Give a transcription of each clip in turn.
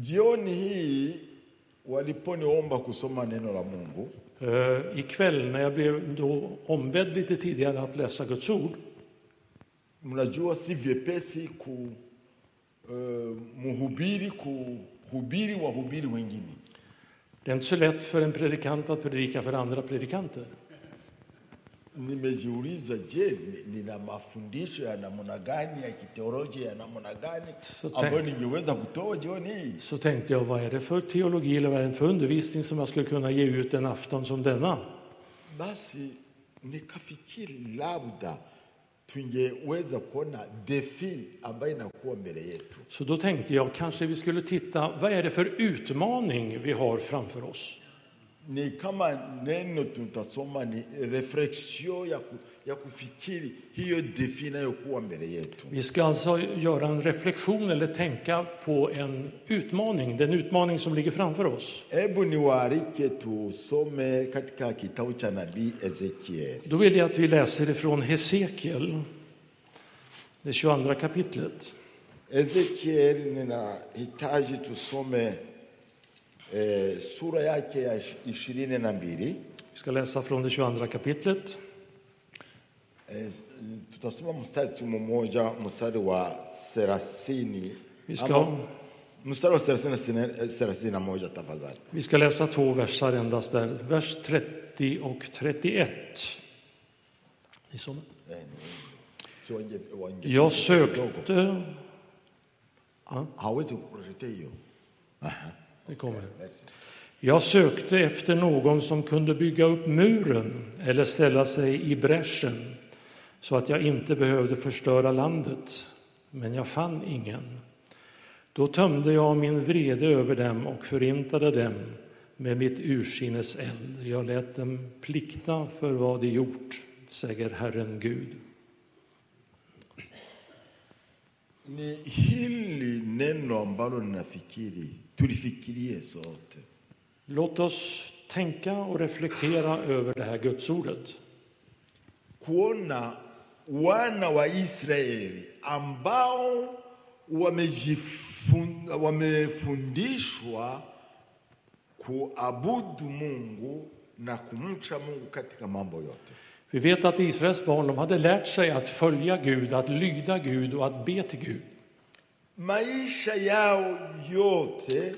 Jioni hii waliponiomba kusoma neno la Mungu Eh, Ikväll när jag blev då ombedd lite tidigare att läsa Guds ord mnajua si vyepesi ku eh, mhubiri kuhubiri wahubiri wengine. det är inte så lätt för en predikant att predika för andra predikanter. Nimejiuliza, je, ni- nina mafundisho ya namna gani ya kiteolojia ya namna gani So ambayo thank- ningeweza kutoa jioni hii? Så tänkte jag, vad är det för teologi eller vad är det för undervisning som jag skulle kunna ge ut en afton som denna? Basi nikafikiri labda tungeweza kuona defi ambayo inakuwa mbele yetu. Så då tänkte jag, kanske vi skulle titta, vad är det för utmaning vi har framför oss? Ni kama neno tutasoma ni refleksio ya, ku, ya kufikiri hiyo defi inayokuwa mbele yetu. Vi ska alltså göra en reflektion eller tänka på en utmaning, den utmaning som ligger framför oss. Hebu niwaalike tusome katika kitabu cha nabii Ezekiel Då vill jag att vi läser ifrån Hesekiel, det 22 kapitlet. Ezekiel ninahitaji tusome eh, sura yake ya ish- ishirini na mbili. Vi ska läsa från det 22 kapitlet. Eh, tutasoma mstari tu mmoja, mstari wa thelathini Vi ska, Ama- mstari wa thelathini na sina- eh, thelathini na moja tafadhali. vi ska läsa två versar endast där, vers 30 och 31. Ni som- Si wange- wange- Jag kidogo. sökte... hawezi kuprojekte hiyo. Det kommer. Merci. Jag sökte efter någon som kunde bygga upp muren eller ställa sig i bräschen så att jag inte behövde förstöra landet, men jag fann ingen. Då tömde jag min vrede över dem och förintade dem med mitt ursinnes eld. Jag lät dem plikta för vad de gjort, säger Herren Gud. Ni hili neno ambalo ninafikiri tulifikirie sote. Låt oss tänka och reflektera över det här gudsordet. kuona wana wa Israeli ambao wamejifun- wamefundishwa kuabudu Mungu na kumcha Mungu katika mambo yote. Vi vet att Israels barn de hade lärt sig att följa Gud, att lyda Gud och att be till Gud. Maisha yao yote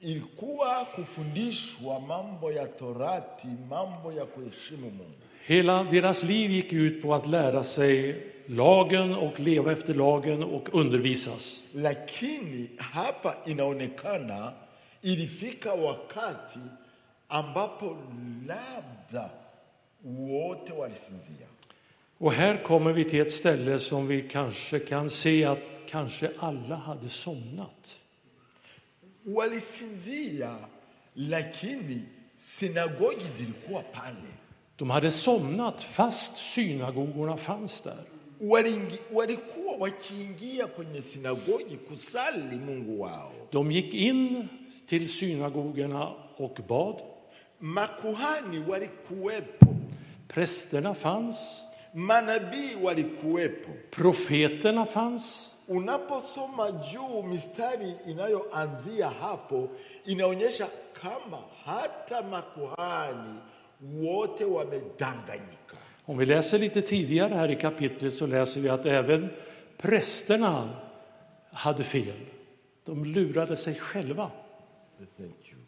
ilikuwa kufundishwa mambo ya Torati, mambo ya kuheshimu Mungu. Hela deras liv gick ut på att lära sig lagen och leva efter lagen och undervisas. lakini hapa inaonekana ilifika wakati ambapo labda wote walisinzia. Och här kommer vi till ett ställe som vi kanske kan se att kanske alla hade somnat. Walisinzia, lakini sinagogi zilikuwa pale. De hade somnat fast synagogorna fanns där. Walingi, walikuwa wakiingia kwenye sinagogi kusali Mungu wao. De gick in till synagogorna och bad. Makuhani walikuwepo, Prästerna fanns, manabii walikuwepo. profeterna fanns, Unaposoma juu mistari inayoanzia hapo inaonyesha kama hata makuhani wote wamedanganyika. Om vi läser lite tidigare här i kapitlet så läser vi att även prästerna hade fel. De lurade sig själva. Thank you.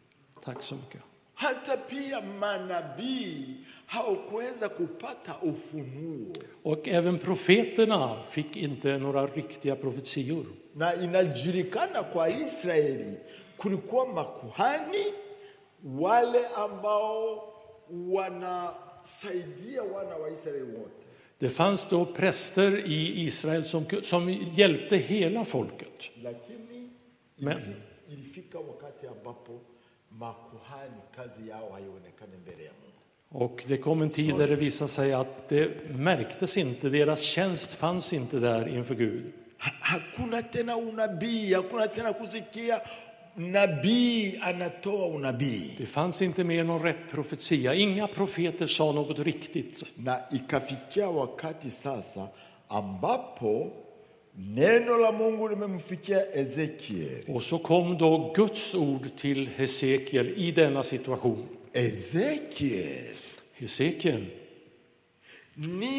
Tack så mycket. Hata pia manabii hawakuweza kupata ufunuo, Och även profeterna fick inte några riktiga profetior. na inajulikana kwa Israeli kulikuwa makuhani wale ambao wanasaidia wana wa Israeli wote Det fanns då präster i Israel som, som hjälpte hela folket. lakini Men- ilifi- ilifika wakati ambapo makuhani kazi yao haionekane mbele ya Mungu. Och det kom en tid där det visade sig att det märktes inte, deras tjänst fanns inte där inför Gud. Ha, hakuna tena unabii, hakuna tena kusikia nabii anatoa unabii, Det fanns inte mer någon rätt profetia. Inga profeter sa något riktigt. na ikafikia wakati sasa ambapo Neno la Mungu limemfikia Ezekiel. Och så kom då Guds ord till Hesekiel i denna situation. Ezekiel, Hesekiel,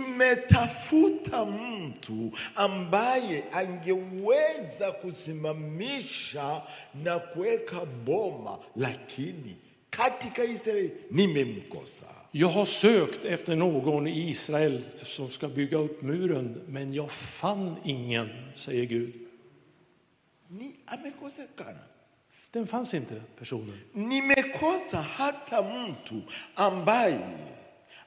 nimetafuta mtu ambaye angeweza kusimamisha na kuweka boma, lakini katika Israeli nimemkosa. jag har sökt efter någon i Israel som ska bygga upp muren, men jag fann ingen, säger Gud. Ni amekosekana. Den fanns inte, personen. Nimekosa hata mtu ambaye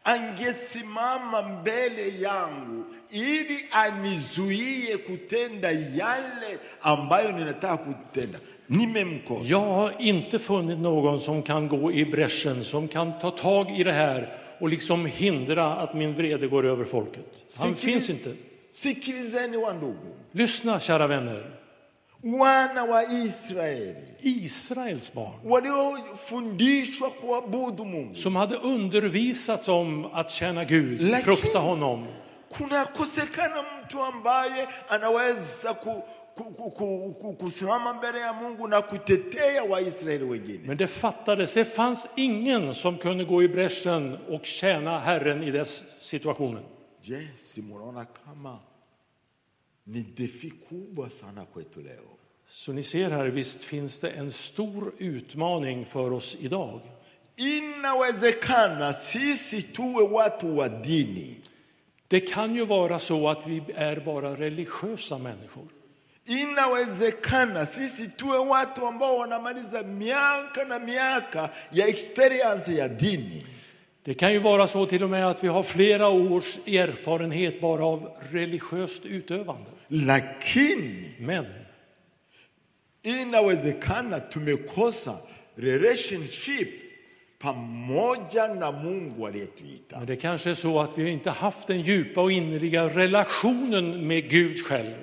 angesimama mbele yangu ili anizuie kutenda yale ambayo ninataka kutenda. Nimemkosa. Jag har inte funnit någon som kan gå i bräschen, som kan ta tag i det här och liksom hindra att min vrede går över folket. Han Sikri- finns inte. Sikilizeni wa ndugu, Lyssna, kära vänner. wana wa Israeli Israels barn waliofundishwa kuabudu Mungu, som hade undervisats om att tjäna Gud, Lakin- frukta honom. kunakosekana mtu ambaye anaweza ku, ku, ku, ku, ku, kusimama mbele ya Mungu na kutetea Waisraeli wengine. Men det fattades, det fanns ingen som kunde gå i bräschen och tjäna Herren i dess situationen. Je, si munaona kama ni defi kubwa sana kwetu leo? Så ni ser här, visst finns det en stor utmaning för oss idag. Inawezekana sisi tuwe watu wa dini, Det kan ju vara så att vi är bara religiösa människor. inawezekana sisi tuwe watu ambao wanamaliza miaka na miaka ya experience ya dini, Det kan ju vara så till och med att vi har flera års erfarenhet bara av religiöst utövande. lakini Men inawezekana tumekosa relationship pamoja na Mungu aliyetuita. Men det kanske är så att vi inte haft den djupa och innerliga relationen med Gud själv.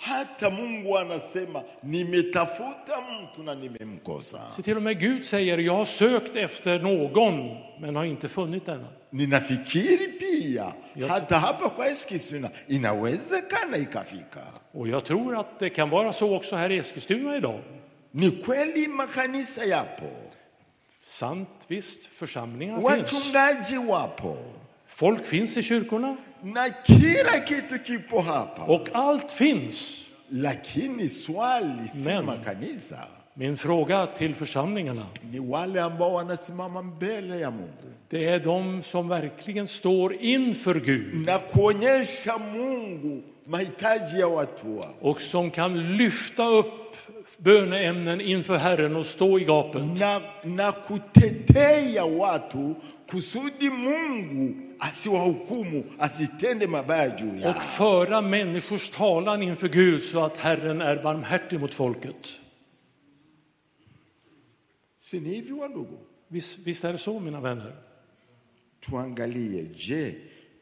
Hata Mungu anasema nimetafuta mtu na nimemkosa. Så till och med Gud säger jag har sökt efter någon men har inte funnit denna. Ninafikiri pia Yote. hata hapa kwa Eskilstuna inawezekana ikafika. Och jag tror att det kan vara så också här i Eskilstuna idag. Ni kweli makanisa yapo, Sant, visst, församlingar finns. wachungaji wapo Folk finns i kyrkorna na kila kitu kipo hapa, och allt finns. lakini swali si Men. makanisa, Min fråga till församlingarna, ni wale ambao wanasimama mbele ya Mungu det är de som verkligen står inför Gud na kuonyesha Mungu mahitaji ya watu wao. och som kan lyfta upp böneämnen inför Herren och stå i gapet. na, na kutetea watu kusudi Mungu asiwahukumu asitende mabaya juu och yao. föra människors talan inför Gud så att Herren är barmhärtig mot folket. Si ni hivi wandugu? Visst, visst är det så, mina vänner? Tuangalie, je,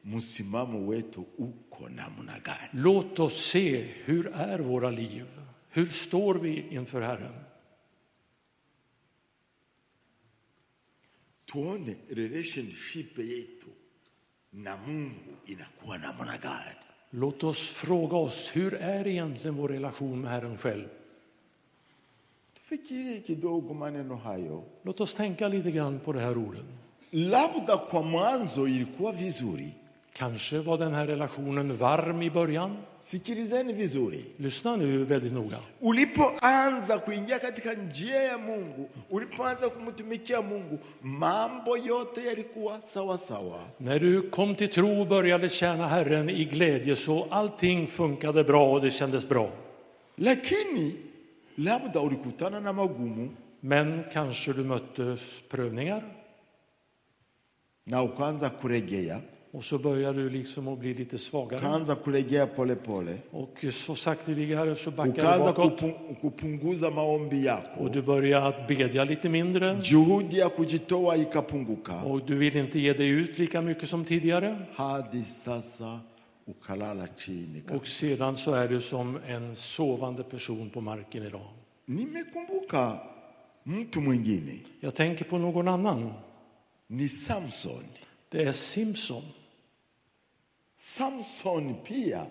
msimamo wetu uko namna gani? Låt oss se hur är våra liv? Hur står vi inför Herren? Tuone relationship yetu na Mungu inakuwa namna gani? Låt oss fråga oss hur är egentligen vår relation med Herren själv? Tufikirie kidogo maneno hayo. Låt oss tänka lite grann på det här ordet. Labda kwa mwanzo ilikuwa vizuri. Kanske var den här relationen varm i början. Sikilizeni vizuri. Lyssna nu väldigt noga. Ulipoanza kuingia katika njia ya Mungu, ulipoanza kumtumikia Mungu, mambo yote yalikuwa sawa sawa. När du kom till tro och började tjäna Herren i glädje så allting funkade bra och det kändes bra. Lakini labda ulikutana na magumu Men kanske du mötte prövningar na ukaanza kuregea, och så börjar du liksom att bli lite svagare. ukaanza kuregea polepole Och så sakteliga så backar du ukaanza bakåt kupu, kupunguza maombi yako, och du börjar att bedja lite mindre juhudi ya kujitoa ikapunguka, och du vill inte ge dig ut lika mycket som tidigare. hadi sasa ukalala chini. Och sedan så är du som en sovande person på marken idag. Nimekumbuka mtu mwingine Jag tänker på någon annan. ni Samsoni. Det är Simson. Samson pia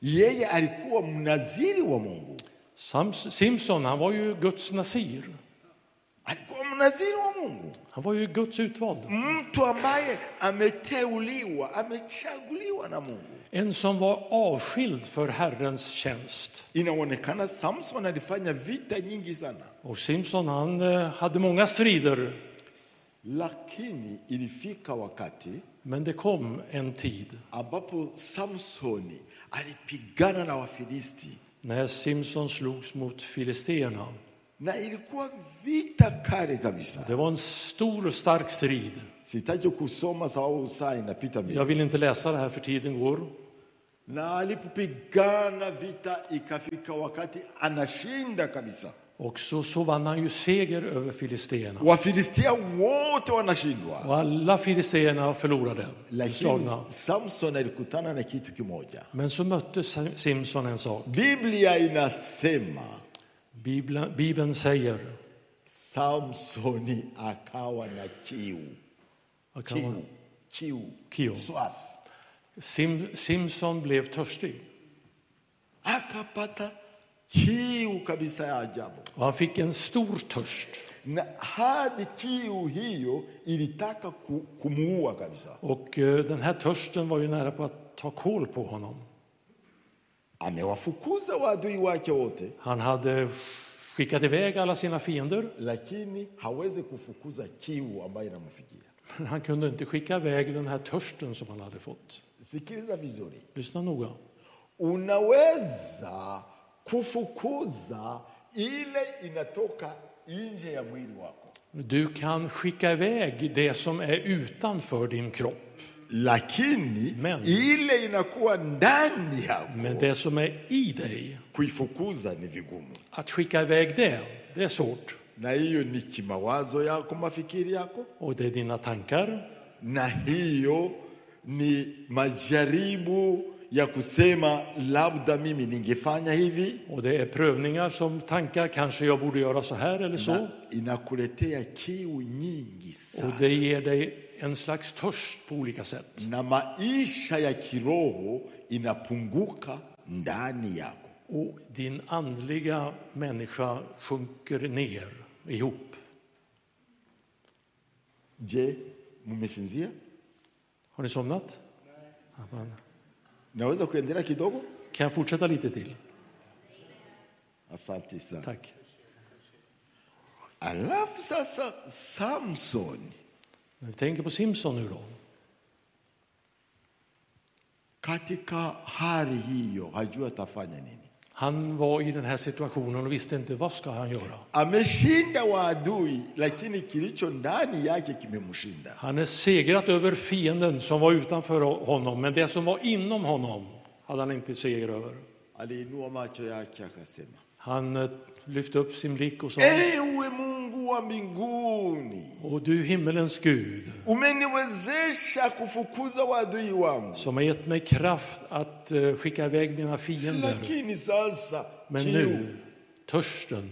Yeye alikuwa mnaziri wa Mungu, Sams- Simson, han var ju Guds nazir. alikuwa mnaziri wa Mungu, Han var ju Guds utvald. mtu ambaye ameteuliwa, amechaguliwa na Mungu. En som var avskild för Herrens tjänst. Inaonekana Samson alifanya vita nyingi sana, Och Simson, han eh, hade många strider. lakini ilifika wakati Men det kom en tid ambapo Samsoni alipigana na Wafilisti när Simson slogs mot filisterna. na ilikuwa vita kali kabisa. Det var en stor och stark strid. Sitaki kusoma sababu saa inapita Jag mbio. vill inte läsa det här för tiden går. Na alipopigana vita, ikafika wakati anashinda kabisa, Och så, så vann han ju seger över filisterna. Wafilistia wote wanashindwa, Och alla filisterna förlorade, lakini slagna. Samson alikutana na kitu kimoja. Men så mötte Sim- Simson en sak. Biblia inasema Bibeln, Bibeln säger, Samsoni akawa na kiu, vad kan kiu, man, kiu, Kiu. swath Sim, Simson blev törstig. akapata kiu kabisa ya ajabu, Och han fick en stor törst. na hadi kiu hiyo ilitaka ku- kumuua kabisa. Och eh, den här törsten var ju nära på att ta kål på honom. Amewafukuza waadui wake wote, Han hade skickat iväg alla sina fiender, lakini hawezi kufukuza kiu ambayo inamfikia. men han kunde inte skicka iväg den här törsten som han hade fått. Sikiliza vizuri, Lyssna noga. unaweza kufukuza ile inatoka nje ya mwili wako, Du kan skicka iväg det som är utanför din kropp, lakini Men- ile inakuwa ndani yako men det som är i dig, kuifukuza ni vigumu, att skicka iväg det, det är svårt. na hiyo ni kimawazo yako, mafikiri yako, Och det är dina tankar, na hiyo ni majaribu ya kusema labda mimi ningefanya hivi och det är prövningar som tankar, kanske jag borde göra så här eller så. na inakuletea kiu nyingi Och sana det ger dig en slags törst på olika sätt. na maisha ya kiroho inapunguka ndani yako. Och din andliga människa sjunker ner ihop. Je, mmesinzia? Har ni somnat? Amen. Naweza kuendelea kidogo? Kan jag fortsätta lite till? Asante sana. Tack. Alafu sasa Samson När vi tänker på Simson nu då. katika hali hiyo hajua atafanya nini. Han var i den här situationen och visste inte vad ska han göra. Ameshinda waadui, lakini kilicho ndani yake kimemshinda. Han är segrat över fienden som var utanför honom, men det som var inom honom hade han inte seger över. Aliinua macho yake akasema, Han eh, lyfte upp sin blick och sa, ewe Mungu wa mbinguni och du himmelens Gud, umeniwezesha kufukuza waadui wangu, som har gett mig kraft att eh, skicka iväg mina fiender. lakini sasa Men kiu nu, törsten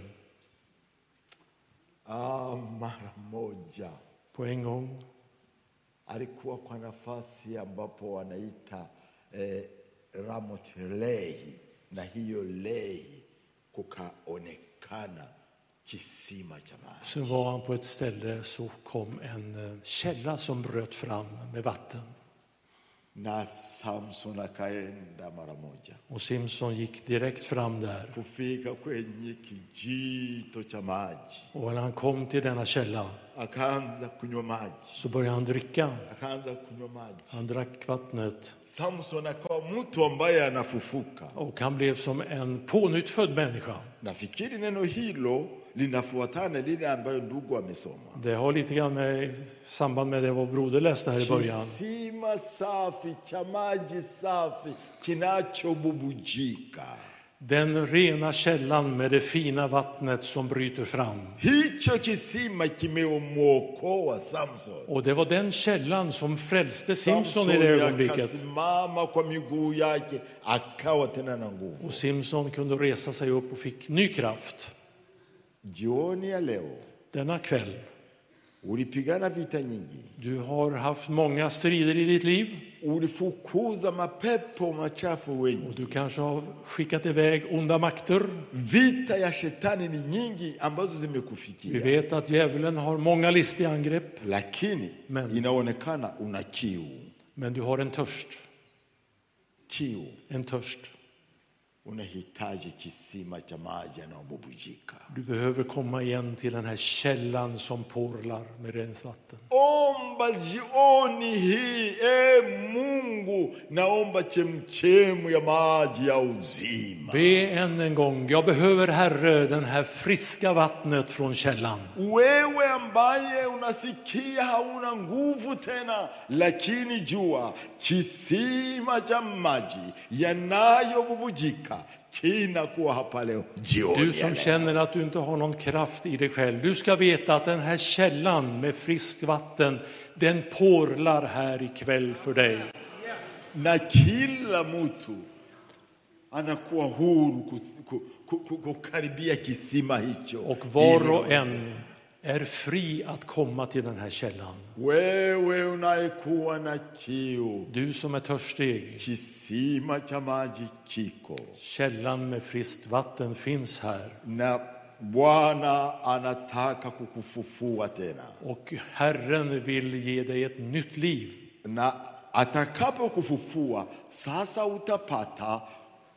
ah, mara moja på en gång. alikuwa kwa nafasi ambapo wanaita eh, Ramoth Lehi, na hiyo Lehi kukaonekana kisima cha maji. Så var han på ett ställe så kom en eh, källa som bröt fram med vatten. na Samson akaenda mara moja Och Simson gick direkt fram där. kufika kwenye kijito cha maji, Och när han kom till denna källa akaanza kunywa maji, så började han dricka. akaanza kunywa maji. Han drack vattnet Samson akawa mtu ambaye anafufuka. och han blev som en pånyttfödd människa. Nafikiri neno hilo linafuatana lile ambayo ndugu amesoma, Det har lite grann med samband med det vår broder läste här i början. kisima safi cha maji safi kinachobubujika. Den rena källan med det fina vattnet som bryter fram. Hicho kisima kimemwokoa Samson. Och det var den källan som frälste Simson i det Samsoni ögonblicket. akasimama kwa miguu yake akawa tena na nguvu. Och Simson kunde resa sig upp och fick ny kraft. Jioni ya leo Denna kväll Ulipigana vita nyingi, Du har haft många strider i ditt liv ulifukuza mapepo machafu och wengi. du kanske har skickat iväg onda makter. Vita ya shetani ni nyingi ambazo Vi zimekufikia, vet att djävulen har många listiga angrepp, lakini Men- inaonekana una kiu, men du har en törst. kiu, En törst. unahitaji kisima cha maji yanayobubujika. Du behöver komma igen till den här källan som porlar med rent vatten. Omba jioni hii, e Mungu, naomba chemchemu ya maji ya uzima. Be än en gång, jag behöver Herre den här friska vattnet från källan. Wewe ambaye unasikia hauna nguvu tena, lakini jua kisima cha maji yanayobubujika kinakuwa hapa leo Du jioni. ya som leo. känner att du inte har någon kraft i dig själv, du ska veta att den här källan med friskt vatten, den porlar här ikväll för dig. Na kila mtu anakuwa huru ku- ku- ku- ku- kukaribia kisima hicho. Och var och Ili- en är fri att komma till den här källan. Wewe unayekuwa na kiu, Du som är törstig, kisima cha maji kiko källan med friskt vatten finns här. na Bwana anataka kukufufua tena, Och Herren vill ge dig ett nytt liv. na atakapokufufua sasa utapata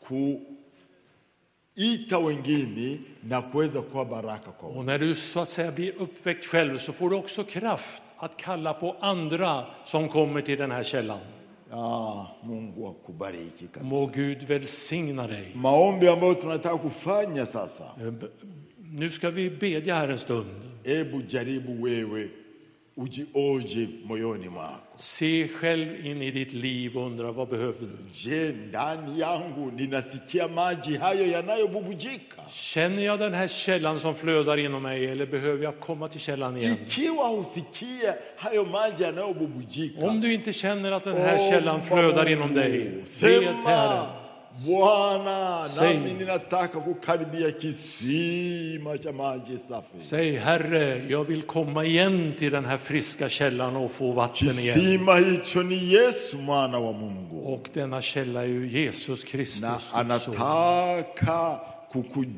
kuita wengine na kuweza kuwa baraka kwa wengine. Och när du så att säga blir uppväckt själv så får du också kraft att kalla på andra som kommer till den här källan. Ah, Mungu akubariki Må kabisa. Gud välsigna dig. Maombi ambayo tunataka kufanya sasa, Eh, b- Nu ska vi bedja här en stund. hebu jaribu wewe ujioje moyoni mwako. Se själv in i ditt liv och undra vad behöver du? Je, ndani yangu ninasikia maji hayo yanayobubujika? Känner jag den här källan som flödar inom mig eller behöver jag komma till källan igen? Ikiwa husikia hayo maji yanayobubujika, Oh, Om du inte känner att den här källan flödar inom dig, be till Herren. sema Bwana, Säg. nami ninataka kukaribia kisima cha maji safi. Säg Herre, jag vill komma igen till den här friska källan och få vatten igen. Kisima hicho ni Yesu mwana wa Mungu, Och denna källa är ju Oh, Jesus na Kristus. Guds son. anataka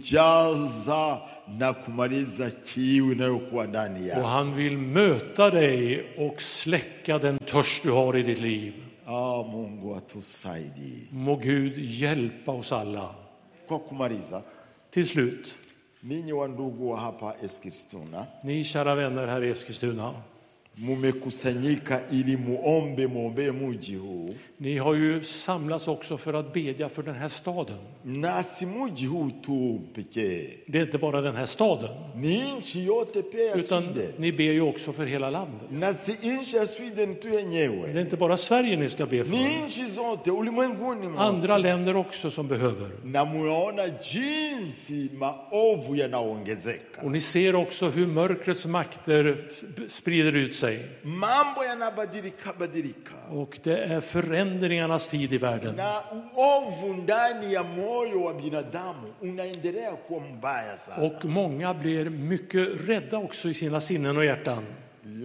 kukujaza na kumaliza kiu inayokuwa ndani yako. Och han vill möta dig och släcka den törst du har i ditt liv. Ah, Mungu atusaidie. Må Gud hjälpa oss alla. Kwa kumaliza, Till slut, ninyi wa ndugu wa hapa Eskilstuna ni kära vänner här i Eskilstuna. mumekusanyika ili muombe, muombee muji huu, Ni har ju samlats också för att bedja för den här staden. na si muji huu tu pekee, Det är inte bara den här staden, ni nchi yote pia ya utan Sweden, ni ber ju också för hela landet. na si nchi ya Sweden tu Det är yenyewe, inte bara Sverige ni ska be för. ni nchi zote ulimwenguni mwote. andra länder också som behöver. Na munaona jinsi maovu Och yanaongezeka, ni ser också hur mörkrets makter sp- sprider ut sig. mambo yanabadilika badilika. Och det är förändringarnas tid i världen. na uovu ndani ya moyo wa binadamu unaendelea kuwa mbaya sana. Och många blir mycket rädda också i sina sinnen och hjärtan.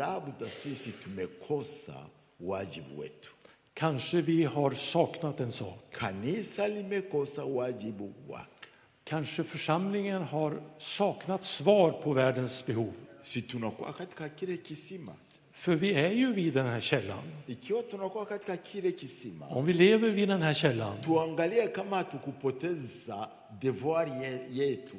Labda sisi tumekosa wajibu wetu, Kanske vi har saknat en sak. kanisa limekosa wajibu wake. Kanske församlingen har saknat svar på världens behov. Si tunakuwa katika kile kisima, För vi är ju vid den här källan. ikiwa tunakuwa katika kile kisima, Om vi lever vid den här källan tuangalie kama hatukupoteza devoir ye, yetu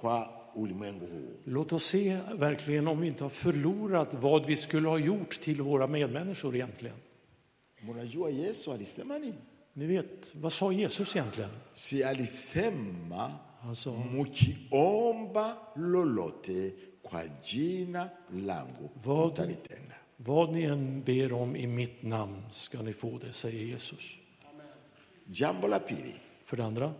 kwa ulimwengu huu. Låt oss se verkligen om vi inte har förlorat vad vi skulle ha gjort till våra medmänniskor egentligen. Mnajua Yesu alisema nini? Ni vet, vad sa Jesus egentligen? Si alisema Han sa, mukiomba lolote kwa jina langu Vad- mtalitenda. vad ni än ber om i mitt namn ska ni få det, säger Jesus. Jambo la pili, För det andra,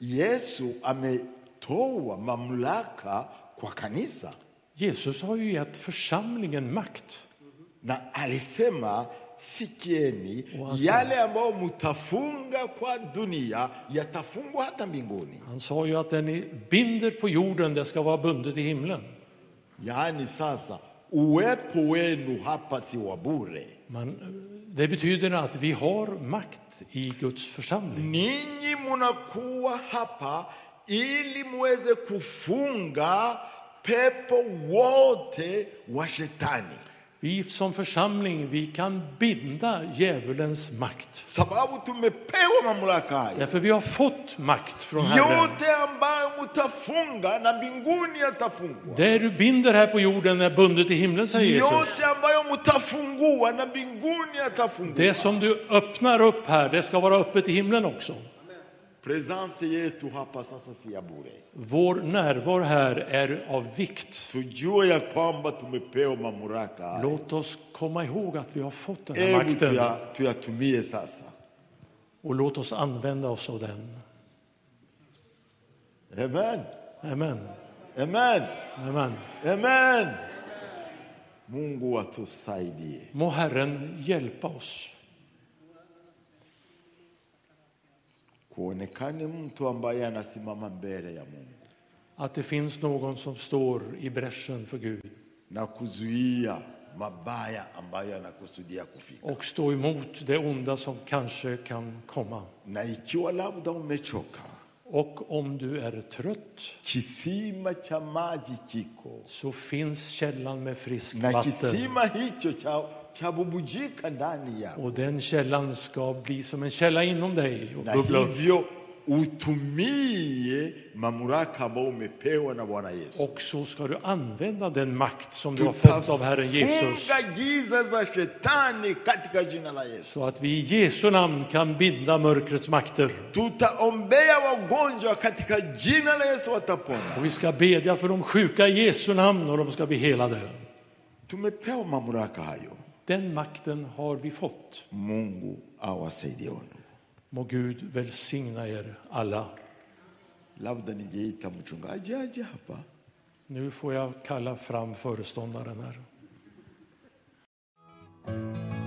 Yesu ametoa mamlaka kwa kanisa Jesus har ju gett församlingen makt. na alisema sikieni, Wazo. yale ambayo mutafunga kwa dunia yatafungwa hata mbinguni. Han sa ju att det ni binder på jorden, det ska vara bundet i himlen. Yaani sasa uwepo wenu hapa si wa bure. Man, eh, det betyder att vi har makt i Guds församling. Ninyi munakuwa hapa ili muweze kufunga pepo wote wa shetani, Vi som församling, vi kan binda djävulens makt. sababu tumepewa mamlaka haya Därför vi har fått makt från Herren. yote ambayo mutafunga na mbinguni yatafungwa, Det du binder här på jorden är bundet i himlen, säger Jesus. yote ambayo mutafungua na mbinguni yatafungua. Det som du öppnar upp här, det ska vara öppet i himlen också. Presence yetu hapa sasa si ya bure. Vår närvaro här är av vikt. Tujue ya kwamba tumepewa mamlaka haya. Låt oss komma ihåg att vi har fått den här Hebu makten tuya- tuyatumie sasa. och låt oss använda oss av den. Amen. Amen. Amen. Amen. Amen. Mungu atusaidie. Må Herren hjälpa oss Kuonekane mtu ambaye anasimama mbele ya Mungu att det finns någon som står i bräschen för Gud na kuzuia mabaya ambayo yanakusudia kufika. och stå emot det onda som kanske kan komma. Na ikiwa labda umechoka, Och om du är trött kisima cha maji kiko så finns källan med friskt na vatten. kisima hicho cha chabubujika ndani yako, Och den källan ska bli som en källa inom dig och na bubbla upp. hivyo utumie mamlaka ambayo umepewa na Bwana Yesu. Och så ska du använda den makt som du har fått av Herren Jesus. Tutafunga giza za shetani katika jina la Yesu. Så att vi i Jesu namn kan binda mörkrets makter. Tutaombea wagonjwa katika jina la Yesu, watapona. Och vi ska bedja för de sjuka i Jesu namn och de ska bli helade. Tumepewa mamlaka hayo. Den makten har vi fått. Mungu awasaidie wandugu. Må Gud välsigna er alla. Labda ningeita mchungaji aje hapa. Nu får jag kalla fram föreståndaren här.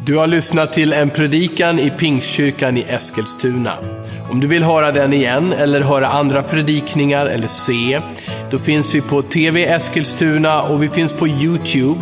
Du har lyssnat till en predikan i Pingstkyrkan i Eskilstuna. Om du vill höra den igen eller höra andra predikningar eller se, då finns vi på TV Eskilstuna och vi finns på Youtube